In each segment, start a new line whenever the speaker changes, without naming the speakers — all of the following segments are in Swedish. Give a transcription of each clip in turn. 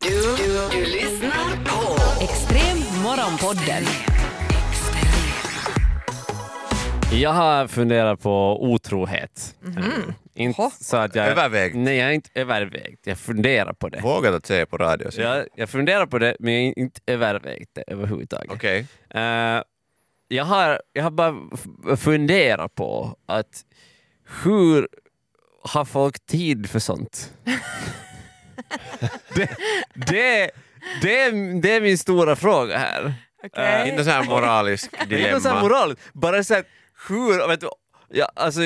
Du, du, du lyssnar på
Extrem morgonpodden.
Jag har funderat på otrohet. Mm. Inte så att jag,
Övervägt.
Nej, jag är inte övervägt. Jag funderar på det.
Vågat att säga på radio. så-
Jag, jag funderar på det, men jag har inte övervägt det överhuvudtaget.
Okej.
Eh, jag, har, jag har bara f- funderat på att hur har folk tid för sånt? det, det, det, är, det är min stora fråga här.
Äh, Inte så här moralisk
Det är inte så här
dilemma.
moraliskt, bara så här, hur, vet du, jag, alltså,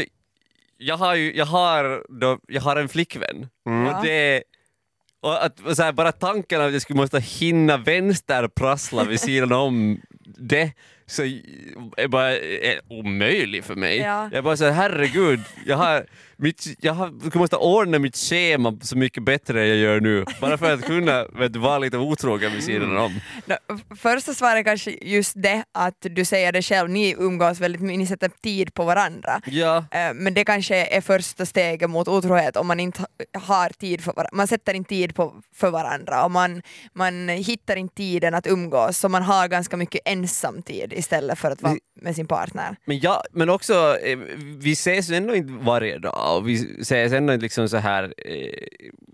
jag har ju, jag har, då, jag har en flickvän. Och det, och att, och så här, bara tanken att jag skulle måste hinna vänsterprassla vid sidan om det, så är bara är omöjlig för mig.
Ja.
Jag bara så här, herregud, jag har, mitt, jag har, jag måste ordna mitt schema så mycket bättre än jag gör nu, bara för att kunna vet, du, vara lite otrogen vid sidan om.
Nå, f- Första svaret kanske just det att du säger det själv, ni umgås väldigt mycket, ni sätter tid på varandra.
Ja.
Eh, Men det kanske är första steget mot otrohet om man inte ha- har tid för varandra. Man sätter inte tid på, för varandra och man, man hittar inte tiden att umgås så man har ganska mycket ensamtid istället för att vara med sin partner.
Men, ja, men också, eh, vi ses ju ändå inte varje dag och vi ses ändå inte liksom så här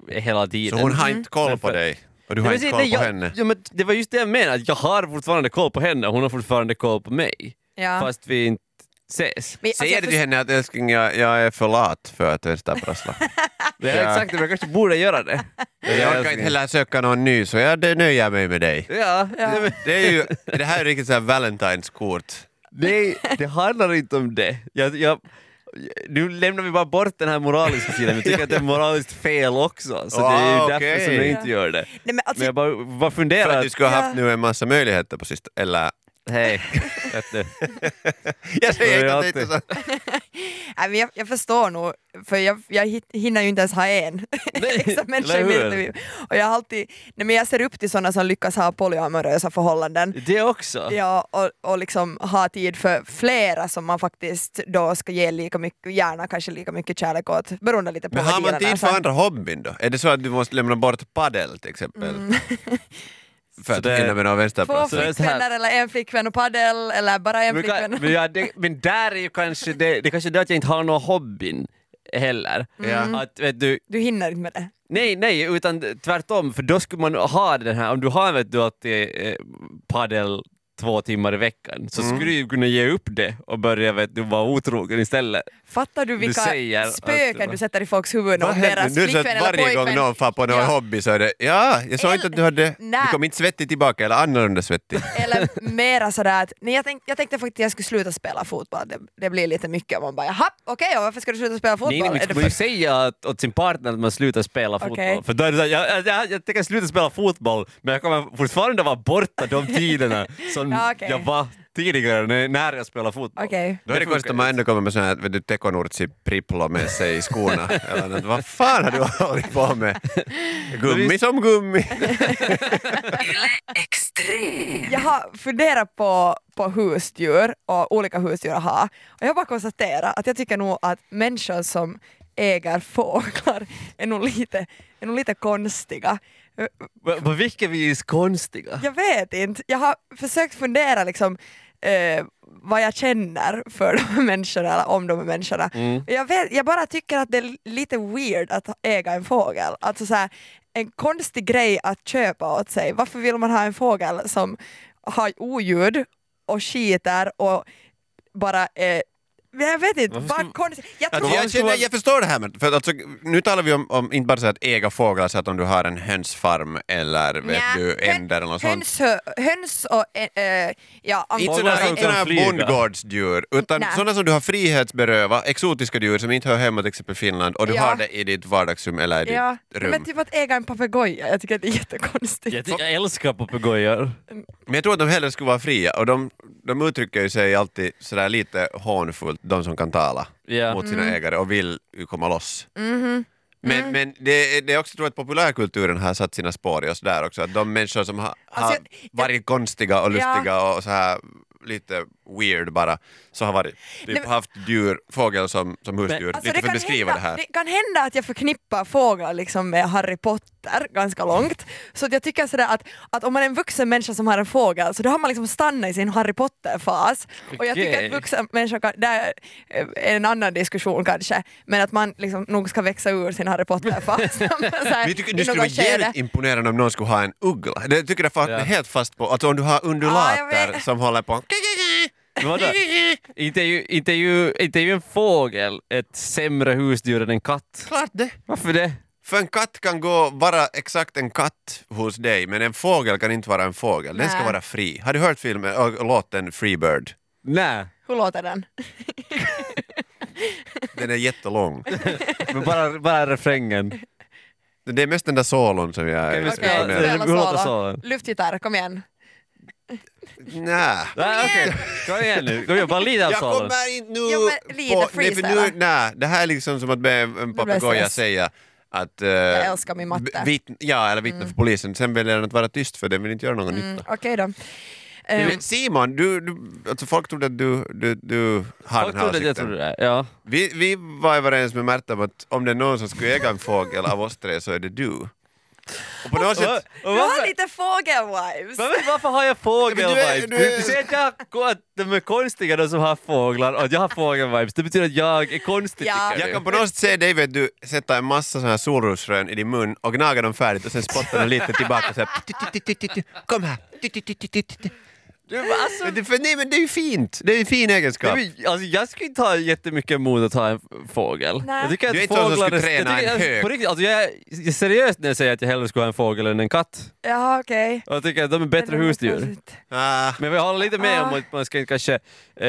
eh, hela
Så
tiden.
hon har inte koll på dig och du har
Nej,
inte
men-
koll
nej,
på
jag, alltså,
henne.
Ja, men det var just det jag menade, att jag har fortfarande koll på henne och hon har fortfarande koll på mig.
Ja.
Fast vi inte ses.
Men, alltså,
Säger
jag
du
förs-
till henne att älskling jag, jag är för lat för att vänsterprassla?
Det är
Ja.
exakt det, men jag kanske borde göra det.
jag orkar inte heller söka någon ny så jag det nöjer mig med dig.
Ja, nej, men
Det, är ju, det här är riktigt så här Valentine's-kort.
Nej, det handlar inte om det. Jag, jag, nu lämnar vi bara bort den här moraliska sidan, jag tycker att det är moraliskt fel också. Så det är ju
Ah,
därför
okej.
som jag inte gör det.
Nej, men alltså,
Men jag bara, bara
För
funderar.
att du skulle ha haft
Ja.
nu en massa möjligheter på sistone. Eller,
Hej. Vet du.
jag
Det är
säger inte att det
alltid-
inte är så.
Nej, men jag, jag förstår nog, för jag, jag hit- hinner ju inte ens ha en
eller
liksom, människa i
hur?
mitt liv. Och jag, har alltid, nej, men jag ser upp till sådana som lyckas ha polyamorösa förhållanden.
Det också?
Ja, och, och liksom ha tid för flera som man faktiskt då ska ge lika mycket, gärna kanske lika mycket kärlek åt, beroende lite på
Men
vad
har man
dealen är
Alltså-
tid för
sen.
andra hobbyn då? Är det så att du måste lämna bort padel till exempel? För
Mm. Så
att
det-
hinna med någon
Två
Så det
vänsterprassla?
är så här-
flickvänner eller en flickvän och padel eller bara en
Men, kan,
flickvän.
men, ja, det, men där är ju kanske det, det är kanske är det att jag inte har någon hobbyn heller.
Mm.
Ja.
Att, vet du,
Du hinner inte med det.
nej, nej, utan tvärtom, för då skulle man ha den här, om du har vet du, att det är eh, padel två timmar i veckan så skulle du ju kunna ge upp det och börja vet du, vara otrogen istället.
Fattar du vilka
säger att-
spöken du sätter i folks huvuden
Vad
om deras
händer nu? Så
flickvän
att
eller
varje gång
pojkvän?
någon far på någon
Ja.
hobby så är det ja, jag sa
Eller-
inte att du hade,
Nej.
du kom inte svettig tillbaka eller annorlunda svettig.
Eller mera sådär att, nej jag, tänk, jag tänkte faktiskt att jag skulle sluta spela fotboll, det, det blir lite mycket om man bara jaha, okej och varför ska du sluta spela fotboll?
Nej, nej, men
Är det
ska man ju säga att, åt sin partner att man slutar spela fotboll.
Okej.
För då är det så här, jag, jag, jag, jag tänker sluta spela fotboll men jag kommer fortfarande vara borta de tiderna som
Ja, okej.
jag var tidigare när, när jag spelade fotboll.
Okej.
Då är det
funkar
konstigt om man ändå kommer med sån här vet du, tekonortsi priplo med sig i skorna. Eller något. Vad fan har du hållit på med? Gummi som gummi.
Yle Extrem.
Jag har funderat på, på husdjur och olika husdjur att ha och jag har bara konstaterat att jag tycker nog att människor som äger fåglar är nog lite, är nog lite konstiga.
På- På vilket vis konstiga?
Jag vet inte, jag har försökt fundera liksom eh, vad jag känner för de här människorna eller om de här människorna.
Mm.
Och Jag, vet, jag bara tycker att det är lite weird att äga en fågel. Alltså så här, en konstig grej att köpa åt sig. Varför vill man ha en fågel som har oljud och skiter och bara eh, men jag vet inte, bara konstigt. Jag
Att
tror
jag, känner, jag förstår det här med, för att alltså, nu talar vi om, om inte bara så här att äga fåglar så att om du har en hönsfarm eller vet
Nja,
du,
hön-
änder eller något sånt.
höns, höns och eh, eh, ja,
Inte
Fåglar
sådana,
som
inte
kan
sådana här
flyga.
bondgårdsdjur, utan
Nej.
sådana som du har frihetsberövat, exotiska djur som inte hör hemma till exempel i Finland och du
Ja.
har det i ditt vardagsrum eller i ditt
Ja,
rum.
men typ att äga en papegoja, jag tycker att det är jättekonstigt.
Jag, ty- jag älskar papegojor.
Men jag tror att de hellre skulle vara fria och de, de uttrycker ju sig alltid sådär lite hånfullt, de som kan tala
Ja.
mot
Mm.
sina ägare och vill ju komma loss.
Mm-hmm.
Men, men det, det är också tror jag att populärkulturen har satt sina spår i oss där också, att de människor som har, har
Alltså, jag-
varit konstiga och
Ja.
lustiga och så här lite weird bara, så har varit typ
Nej, men-
haft djur, fågel som, som husdjur,
Alltså,
lite för att beskriva
hända,
det här.
kan hända att jag förknippar fåglar liksom med Harry Potter ganska långt. Så att jag tycker sådär att, att om man är en vuxen människa som har en fågel så då har man liksom stannat i sin Harry Potter-fas. Och jag tycker
Okej.
att vuxna människor, kan, det är eh, en annan diskussion kanske, men att man liksom nog ska växa ur sin Harry Potter-fas. Så här,
Men jag tycker
i
det skulle vara
något
jävligt
skede.
imponerande om någon skulle ha en uggla. Det tycker jag
Ja.
fattnar helt fast på. Alltså om du har
Ja,
undulater
jag vet.
som håller på...
Men vadå? Inte är ju, inte är ju, inte är ju en fågel ett sämre husdjur än en katt.
Klart det!
Varför det?
För en katt kan gå vara exakt en katt hos dig, men en fågel kan inte vara en fågel. Den ska
Nej.
vara fri. Har du hört filmen och låten Free Bird?
Nej,
Hur låter den?
Den är jättelång.
men bara, bara refrängen.
Det är mest den där solon som jag
Okej, vi
är
ska-
Okej,
men-
imponerad
spela
Hur låter
solo.
solen?
Luftgitarr, kom igen.
Nä.
Nej, okej. Kom igen nu. Kom igen, bara lite av
Jag
solen.
kommer inte nu
Jo, men lite
på... Nej, för
freestyle.
nu, nej, det här är liksom som att be en papegoja
stress.
säga att... eh,
Jag älskar min matte. Mm.
b- vittn- ja, eller vittna för polisen. Sen väljer den att vara tyst för den vill inte göra någon nytta.
Okej då. Ehm,
Men Simon, du, du, alltså folk trodde att du, du, du har
Folk
den här
trodde att jag
åsikten.
trodde det. Ja.
Vi, vi var överens med Märta om att om det är någon som skulle äga en fågel av oss tre så är det du. Och på något sätt...
Och- och
Du
varför-
har lite fågelwives.
Varför, varför har jag
Ja,
fågelvibes?
men du är- du är-
Du, du säger att, jag, ko- att de är konstiga de som har fåglar och att jag har fågelvibes. Det betyder att jag är konstig
Ja.
tycker
Jag
du.
kan på något sätt se dig vet du, sätta en massa såna här solrosfrön i din mun och gnaga dem färdigt och sen spotta dem lite tillbaka så här, "Titt, titt, titt, titt, titt, titt. Kom här! Titt, titt, titt, titt, titt, titt." Du, alltså, men det, för, nej men det är ju fint, det är en fin egenskap.
Nej, men, alltså, jag skulle inte ha jättemycket emot att ha en f- fågel.
Nej.
Jag tycker
Du är
att
inte sån som
fåglar
skulle träna
jag tycker,
en
alltså,
hök.
På riktigt, alltså, jag är jag är seriös när jag säger att jag hellre skulle ha en fågel än en katt.
Ja, okej. alltså,
Och jag tycker att de är bättre
Eller något
husdjur.
konstigt.
Ah,
Men jag håller lite med
Ah.
om att man ska inte kanske... Eh, det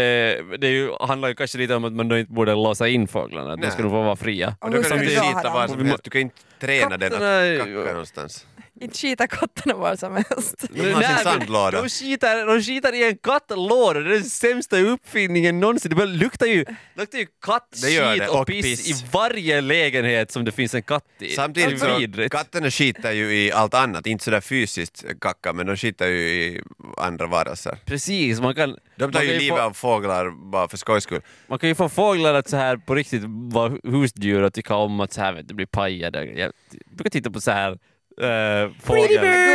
är ju, handlar ju kanske lite om att man då inte borde låsa in fåglarna. att De
Nej.
ska nog få vara fria.
och
hur
då
ska
kan du
du
ju
då ha
skita
den?
var som
Vi må-
helst, du kan inte träna den att
Katterna-
kacka någonstans.
Inte skita kottarna var som helst.
De har sin
Nej, men
sandlåda.
De skitar, de skitar i en kattlåda, det är den sämsta uppfinningen någonsin. Det bara luktar ju, luktar ju
Det gör
kattskit
det,
och,
och
piss,
piss.
i varje lägenhet som det finns en katt i.
Samtidigt
det är
så,
vidrigt.
katterna skiter ju i allt annat, inte sådär fysiskt kacka, men de skiter ju i andra varelser.
Precis, man kan,
De tar
man,
ju
kan
livet
få,
av fåglar bara för skojs skull.
man kan ju få fåglar att så här på riktigt vara husdjur och tycka om att så här, vet, du, bli pajade. Jag brukar titta på så här äh, fåglar.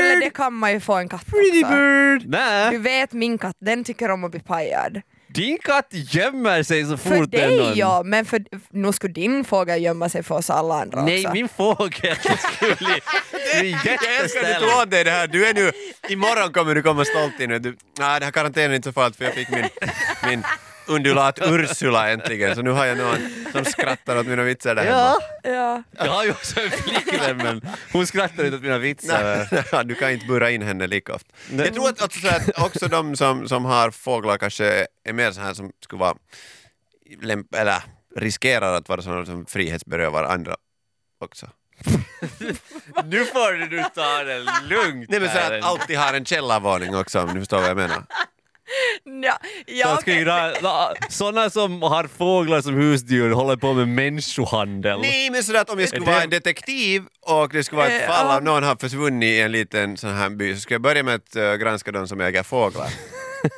Gulle, det kan man ju få en katt
Pretty
också.
bird!
Du
Nej,
vet min katt, den tycker om att bli pajad.
din katt gömmer sig så
För
fort det är
dig
någon.
ja, men för, nu skulle din fågel gömma sig för oss alla andra
Nej,
också.
min fågel skulle bli
Jag älskar att du
jätteställd.
tog åt dig det här, du är nu... Imorgon kommer du komma stolt in och du... Nej, den här karantänen är inte så farligt för jag fick min, min undulat Ursula äntligen, så nu har jag någon som skrattar åt mina vitsar där
Ja,
Ja.
jag har ju också en flickvän men hon skrattar inte åt mina vitsar.
hemma. Du kan inte burra in henne lika ofta.
Nej.
Jag tror att alltså, så här, att också de som, som har fåglar kanske är mer så här som skulle vara... Lämp- eller riskerar att vara sådana som frihetsberövar andra också.
Nu får du nu ta det lugnt.
Nej men så
här.
att alltid har en källarvåning också om du förstår vad jag menar.
Ja, ja,
De ska ju
okej.
ra- la- Såna som har fåglar som husdjur håller på med människohandel.
Nej, men sådär att om jag skulle
Är det-
vara en detektiv och det skulle vara ett
Eh,
fall
ja.
av någon har försvunnit i en liten sån här by så skulle jag börja med att eh, granska de som äger fåglar.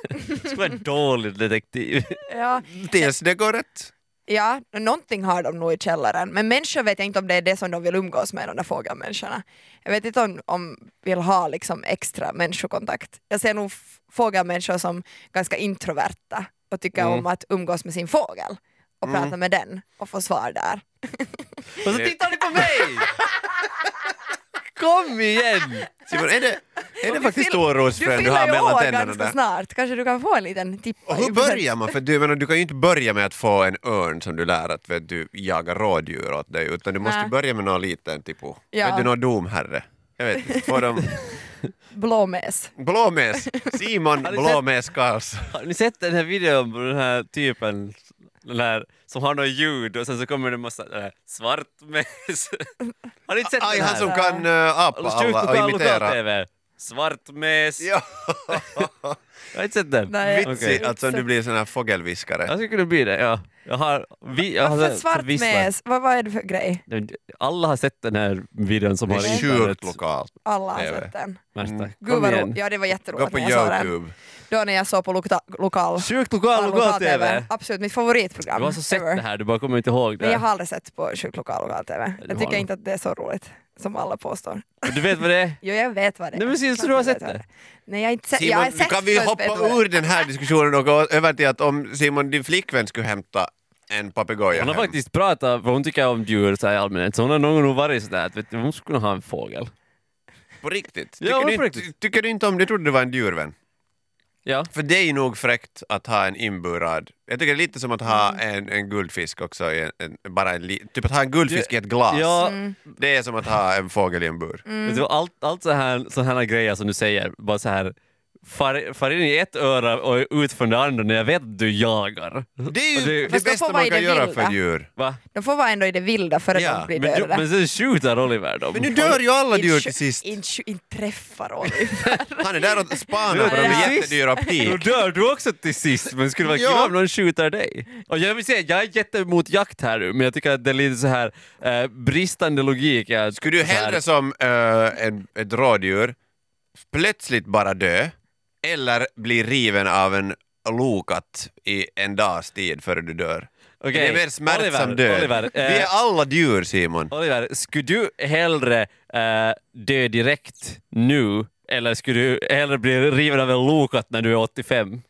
Det skulle vara en dålig detektiv.
Ja,
Tills det går rätt.
ja, någonting har de nog i källaren. Men människor vet jag inte om det är det som de vill umgås med, de där fågelmänniskorna. Jag vet inte om om vill ha liksom extra människokontakt. Jag ser nog f- fågelmänniskor som ganska introverta och tycker
Mm.
om att umgås med sin fågel och prata med den och få svar där.
Och så tittar ni på mig! Kom igen!
Simon, är det, är det
fyller-
faktiskt
Du
storrosfrön du
fyller
har
ju
mellan
år
tänderna
ganska
där?
snart, kanske du kan få en liten tipp.
Och hur börjar man? För du, jag menar, du kan ju inte börja med att få en örn som du lär att vet, du jagar rådjur åt dig utan du måste
Nej.
börja med någon liten, typ, ja.
Ja.
vet du, någon domherre. Jag vet inte, får de...
Blåmes.
Blåmes! Simon
Har ni sett-
Blåmes Karlsson.
Har ni sett den här videon på den här typen den här, som har något ljud och sen så kommer det en massa äh, svart mes? Har ni inte sett
Aj,
den här?
han som kan uh, apa
Alla skjut
alla och
lokal,
imitera.
lokal-tv. Svartmes.
Ja.
Jag har inte sett den.
Nej, jag-
Vitsig,
Okej.
alltså om du blir sån här fågelviskare.
Jag skulle kunna bli det, ja. Jag har, vi, jag har
Varför
sett- sett visslar.
svartmes? Vad, vad är det för grej?
Alla har sett den här videon som
Det
har
är
internet.
sjukt lokalt.
Alla har
Det är
sett den.
Märta,
Mm. Gud
kom
vad ro-
igen.
Ja det var
Gå
jätteroligt
på
när jag såg den.
Youtube.
Då när jag såg på loka- lokal...
Sjukt lokal lokal-tv!
Absolut, mitt favoritprogram.
Du har så sett
ever.
det här, du bara kommer inte ihåg
Nej, jag
det.
har aldrig sett på sjuk lokal lokal-tv.
du
Jag
har
tycker
det.
inte att det är så roligt som alla påstår.
Du vet vad det är?
Jo, jag vet vad det är.
Nej, men syns
Klart
du har
jag vet
sett
vad
det.
är. Nej, jag har inte sett... jag
Simon,
har
nu
sett
kan vi
förut,
hoppa
vet du vad det är.
ur den här diskussionen och gå över till att om Simon, din flickvän skulle hämta en papegoja
Hon har
hem.
faktiskt pratat, för hon tycker om djur så här i allmänhet, så hon har någon gång varit sådär att vet du, hon skulle kunna ha en fågel.
På riktigt?
Ja,
Tycker,
men
du,
på
inte-
riktigt.
tycker du inte om det? Jag trodde du var en djurvän.
Ja.
För det är ju nog fräckt att ha en inburad... Jag tycker det är lite som att ha
Mm.
en, en guldfisk också. i En, en, bara en, li- typ att ha en guldfisk i ett glas.
Ja,
Mm.
Mm.
Det är som att ha en fågel i en bur.
Vet du, allt, allt så här, så här grejer som du säger, bara så här far, far in i ett öra och ut från det andra när jag vet att du jagar.
Det är ju
Det-
det,
Fast då
bästa
får man
man
ju
kan
det
göra
vilda.
för djur.
Va?
De får vara ändå i det vilda före
Ja,
de blir
Men, du,
dödade.
men sen skjuter Oliver dem.
Men nu dör ju alla
Inte
djur
tjo-
till sist.
Inte tjo- inte träffar Oliver.
Han är där och spanar på
Ja.
de där jättedyra
Då
aptik.
dör du också till sist, men skulle vara kul
Ja.
om någon skjuter dig. Och jag vill säga, jag är jätteemot jakt här nu, men jag tycker att det är lite så här eh, bristande logik. är att-
Skulle du
så här-
hellre som eh, en, ett rådjur plötsligt bara dö eller bli riven av en lokat i en dags tid före du dör?
Okej,
Det är mer smärtsam
Oliver,
död.
Oliver,
Vi är
eh,
alla djur, Simon.
Oliver, skulle du hellre eh, dö direkt nu eller skulle du hellre bli riven av en lokat när du är 85?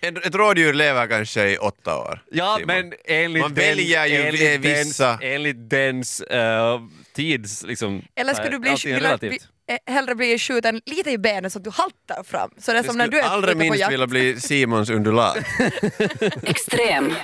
En, ett rådjur lever kanske i åtta år.
Ja,
Simon.
men enligt
Man väljer ju
enligt
vissa.
Dens, enligt dens eh, tids... Liksom,
Eller skulle du bli,
allting är
vilja,
relativt.
bli, eh, hellre bli skjuten lite i benen så att du haltar fram? Så det är
Jag
som när
skulle
du är
allra
ute på
minst
jakt.
vilja bli Simons undulat.
Extrem.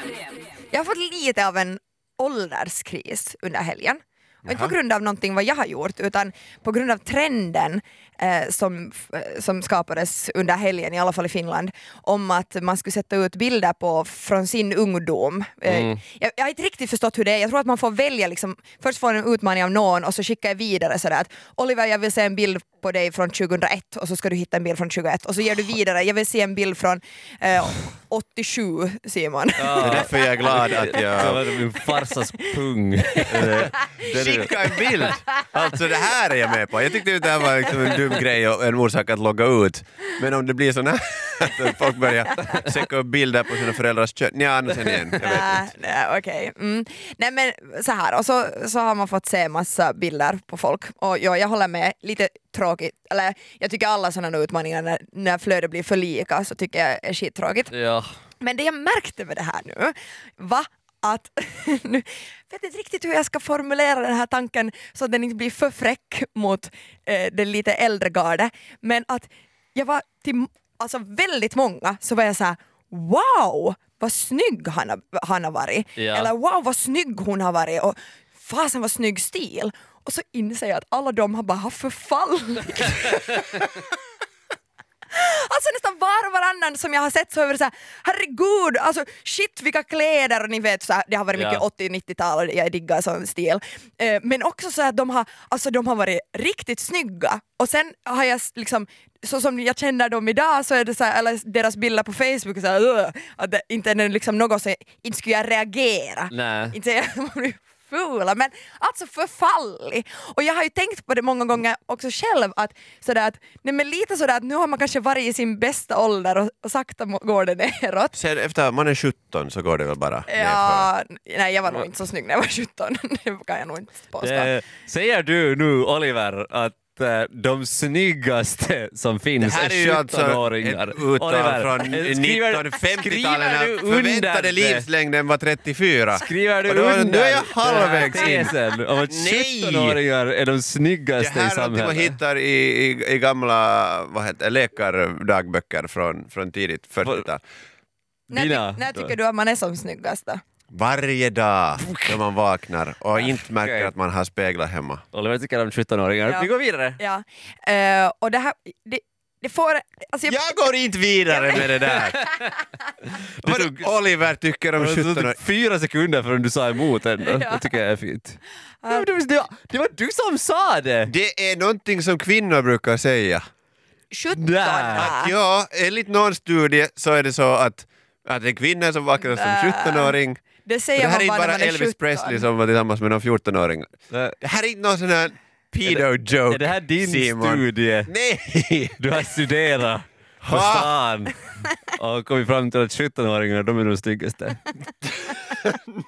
Jag har fått lite av en ålderskris under helgen. Och inte på grund av någonting vad jag har gjort utan på grund av trenden eh, som, f- som skapades under helgen, i alla fall i Finland, om att man skulle sätta ut bilder på från sin ungdom. Eh, jag, jag har inte riktigt förstått hur det är, jag tror att man får välja, liksom, först får en utmaning av någon och så skickar jag vidare sådär att Oliver jag vill se en bild på dig från 2001 och så ska du hitta en bild från 2001 och så ger du vidare, jag vill se en bild från eh, 87 Simon.
Det är därför jag är glad att
Så
jag...
var det min farsas pung. Eh, den är-
Skicka en bild! Alltså det här är jag med på. Jag tyckte ju det här var liksom en dum grej och en orsak att logga ut. Men om det blir såna här att folk börjar söka upp bilder på sina föräldrars kön. Nja, nu sen igen. Jag vet
Nej,
inte.
nej, okej. Mm. Nej men så här, och så, så har man fått se massa bilder på folk och ja, jag håller med, lite tråkigt, eller jag tycker alla sådana utmaningar när, när flödet blir för lika så tycker jag är skittråkigt.
ja.
Men det jag märkte med det här nu var att, nu vet inte riktigt hur jag ska formulera den här tanken så att den inte blir för fräck mot eh, den lite äldre garde, men att jag var till alltså väldigt många så var jag så här: wow vad snygg han har, han har varit,
Ja.
eller wow vad snygg hon har varit och fasen vad snygg stil. Och så inser jag att alla de har bara förfallit. Alltså nästan var och varannan som jag har sett så har jag varit såhär herregud, alltså shit vilka kläder och ni vet så här, det har varit mycket
Ja.
80 90-tal och jag diggar sån stil. Eh, men också så att de har, alltså de har varit riktigt snygga och sen har jag s- liksom så som jag känner dem idag så är det så här, eller deras bilder på Facebook så här, "Ugh", att det inte är liksom något som inte skulle jag reagera.
Nej.
Inte säga att de blir fula, men alltså förfallig. Och jag har ju tänkt på det många gånger också själv att, sådär att, nej men lite sådär att nu har man kanske varit i sin bästa ålder och, och sakta må- går det neråt.
Sen efter man är 17 så går det väl bara nerför.
Ja, nej jag var nog inte så snygg när jag var 17, det kan jag nog inte påstå.
Eh, säger du nu, Oliver, att eh, de snyggaste som
Det
finns
här är ju
är
alltså
17-åringar.
ett uttal från
eh, skriver-
1950-talet
skriver du
när
under
förväntade
det?
livslängden var 34.
Skriver du
Och då-
under
Nu är jag
den här
halvvägs in.
tesen om att
Nej!
17-åringar är de
Det
snyggaste i
här är någonting man
samhället?
hittar i, i, i gamla vad heter, läkardagböcker från, från tidigt 40-tal.
när,
Dina-
ty- när tycker du att man är som snyggast då?
Varje dag när man vaknar och inte märker
Okej.
att man har speglar hemma.
Oliver tycker om 17-åringar.
Ja.
Vi går vidare.
Ja. Eh, och det här, det, det får... Alltså jag,
Jag går inte vidare med det där!
Det
Vad
tog-
Oliver tycker om
Det
17
tog
år.
typ fyra sekunder förrän du sa emot ändå.
Ja.
Det tycker jag är fint. Nej, men det, var- det, var, det var du som sa det!
Det är någonting som kvinnor brukar säga.
17
Där.
Att ja, enligt någon studie så är det så att, att en kvinna är som vackrast som
Nä.
17-åring.
Det
Och
säger
Det här är
man bara,
inte bara
när man är
Elvis
17.
Presley som var tillsammans med någon 14-åring.
Nej.
Det här är inte någon sån här
Är
pedo-joke.
Är det här din
Simon.
studie?
Nej!
Du har studerat på
Ha!
stan och kommit fram till att 17-åringar de är de snyggaste.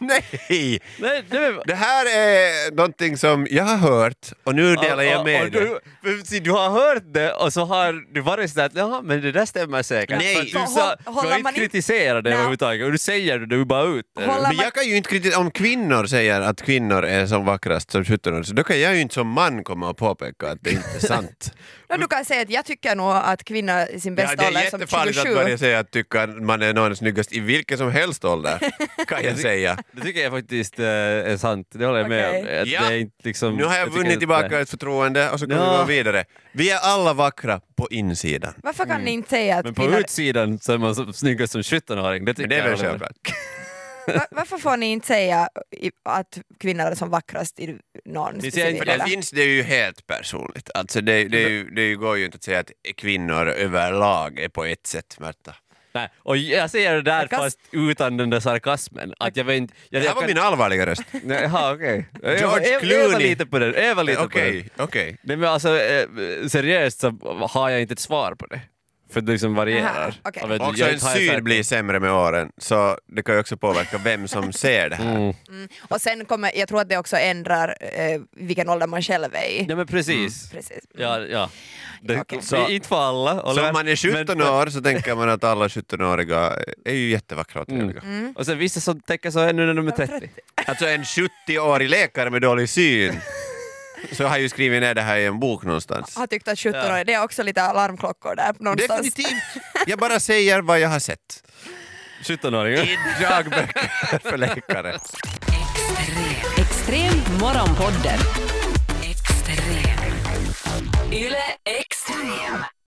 Nej!
Nej, det är...
Det här är någonting som jag har hört och nu delar jag
Och- och
med dig.
du, men se, du har hört det och så har du varit sådär att jaha, men det där stämmer säkert.
Nej.
För att
Hå-
Du, sa, du
håller man
har inte
inte-
kritiserat det
Nej.
överhuvudtaget och du säger det, du bara ut det.
Håller-
Men jag kan ju inte kritisera, om kvinnor säger att kvinnor är som vackrast som 17 så då kan jag ju inte som man komma och påpeka att det inte är sant.
Ja, du kan säga att jag tycker nog att kvinnor i sin
ja,
bästa
det
ålder
är
är som
jättefarligt
27.
att börja säga att tycka att man är någon snyggast i vilken som helst ålder, kan jag säga.
Det tycker jag faktiskt eh, är sant, det håller jag med
Okej.
om. Att
Ja.
det är inte liksom,
Nu har jag
tycker
vunnit
inte-
tillbaka ett förtroende och så kommer
Ja.
vi gå vidare. Vi är alla vackra på insidan.
Varför kan ni inte säga att
Mm. Men på
kvinnor...
utsidan så är man så- snyggast som 17-åring. Det, tycker
Men det är väl
jag håller med.
självklart.
Va- Varför får ni inte säga i- att kvinnor är som vackrast i någon
Ni säger
specifik
inte
För
Eller?
det
ålder?
finns det ju helt personligt. Alltså det, det, är ju- det går ju inte att säga att kvinnor överlag är på ett sätt, Märta.
Nej, och jag säger det där
Sarkasm.
fast utan den där sarkasmen. Att jag vet inte... Jag,
Det här
jag
var min allvarliga röst.
Nej, Jaha, okej.
George
Öva-
Clooney.
Öva lite på den. Öva lite på den.
Okej, okej.
Nej men alltså eh, seriöst så har jag inte ett svar på det. För det liksom varierar.
Aha, okej.
Jag vet inte,
Också
jag
en
har ju
syn
sagt-
blir sämre med åren, så det kan ju också påverka vem som ser det här.
Mm,
Och sen kommer, jag tror att det också ändrar eh, vilken ålder man själv är i.
Ja men precis.
Precis.
Ja, ja. Det,
Mm. Okej.
så, inte för alla.
Så
Oliver,
om man är 17
men-
år så tänker man att alla 17-åriga är ju jättevackra och trevliga.
Och sen vissa som tänker så här nu när de är 30.
Alltså en 70-årig läkare med dålig syn så har ju skrivit ner det här i en bok någonstans.
Har tyckt att 17 år,
Ja.
det är också lite alarmklockor där någonstans.
Definitivt! Jag bara säger vad jag har sett.
17-åringar.
I dagböcker för läkare.
Extrem morgonpodden.
Extrem. Yle Extrem.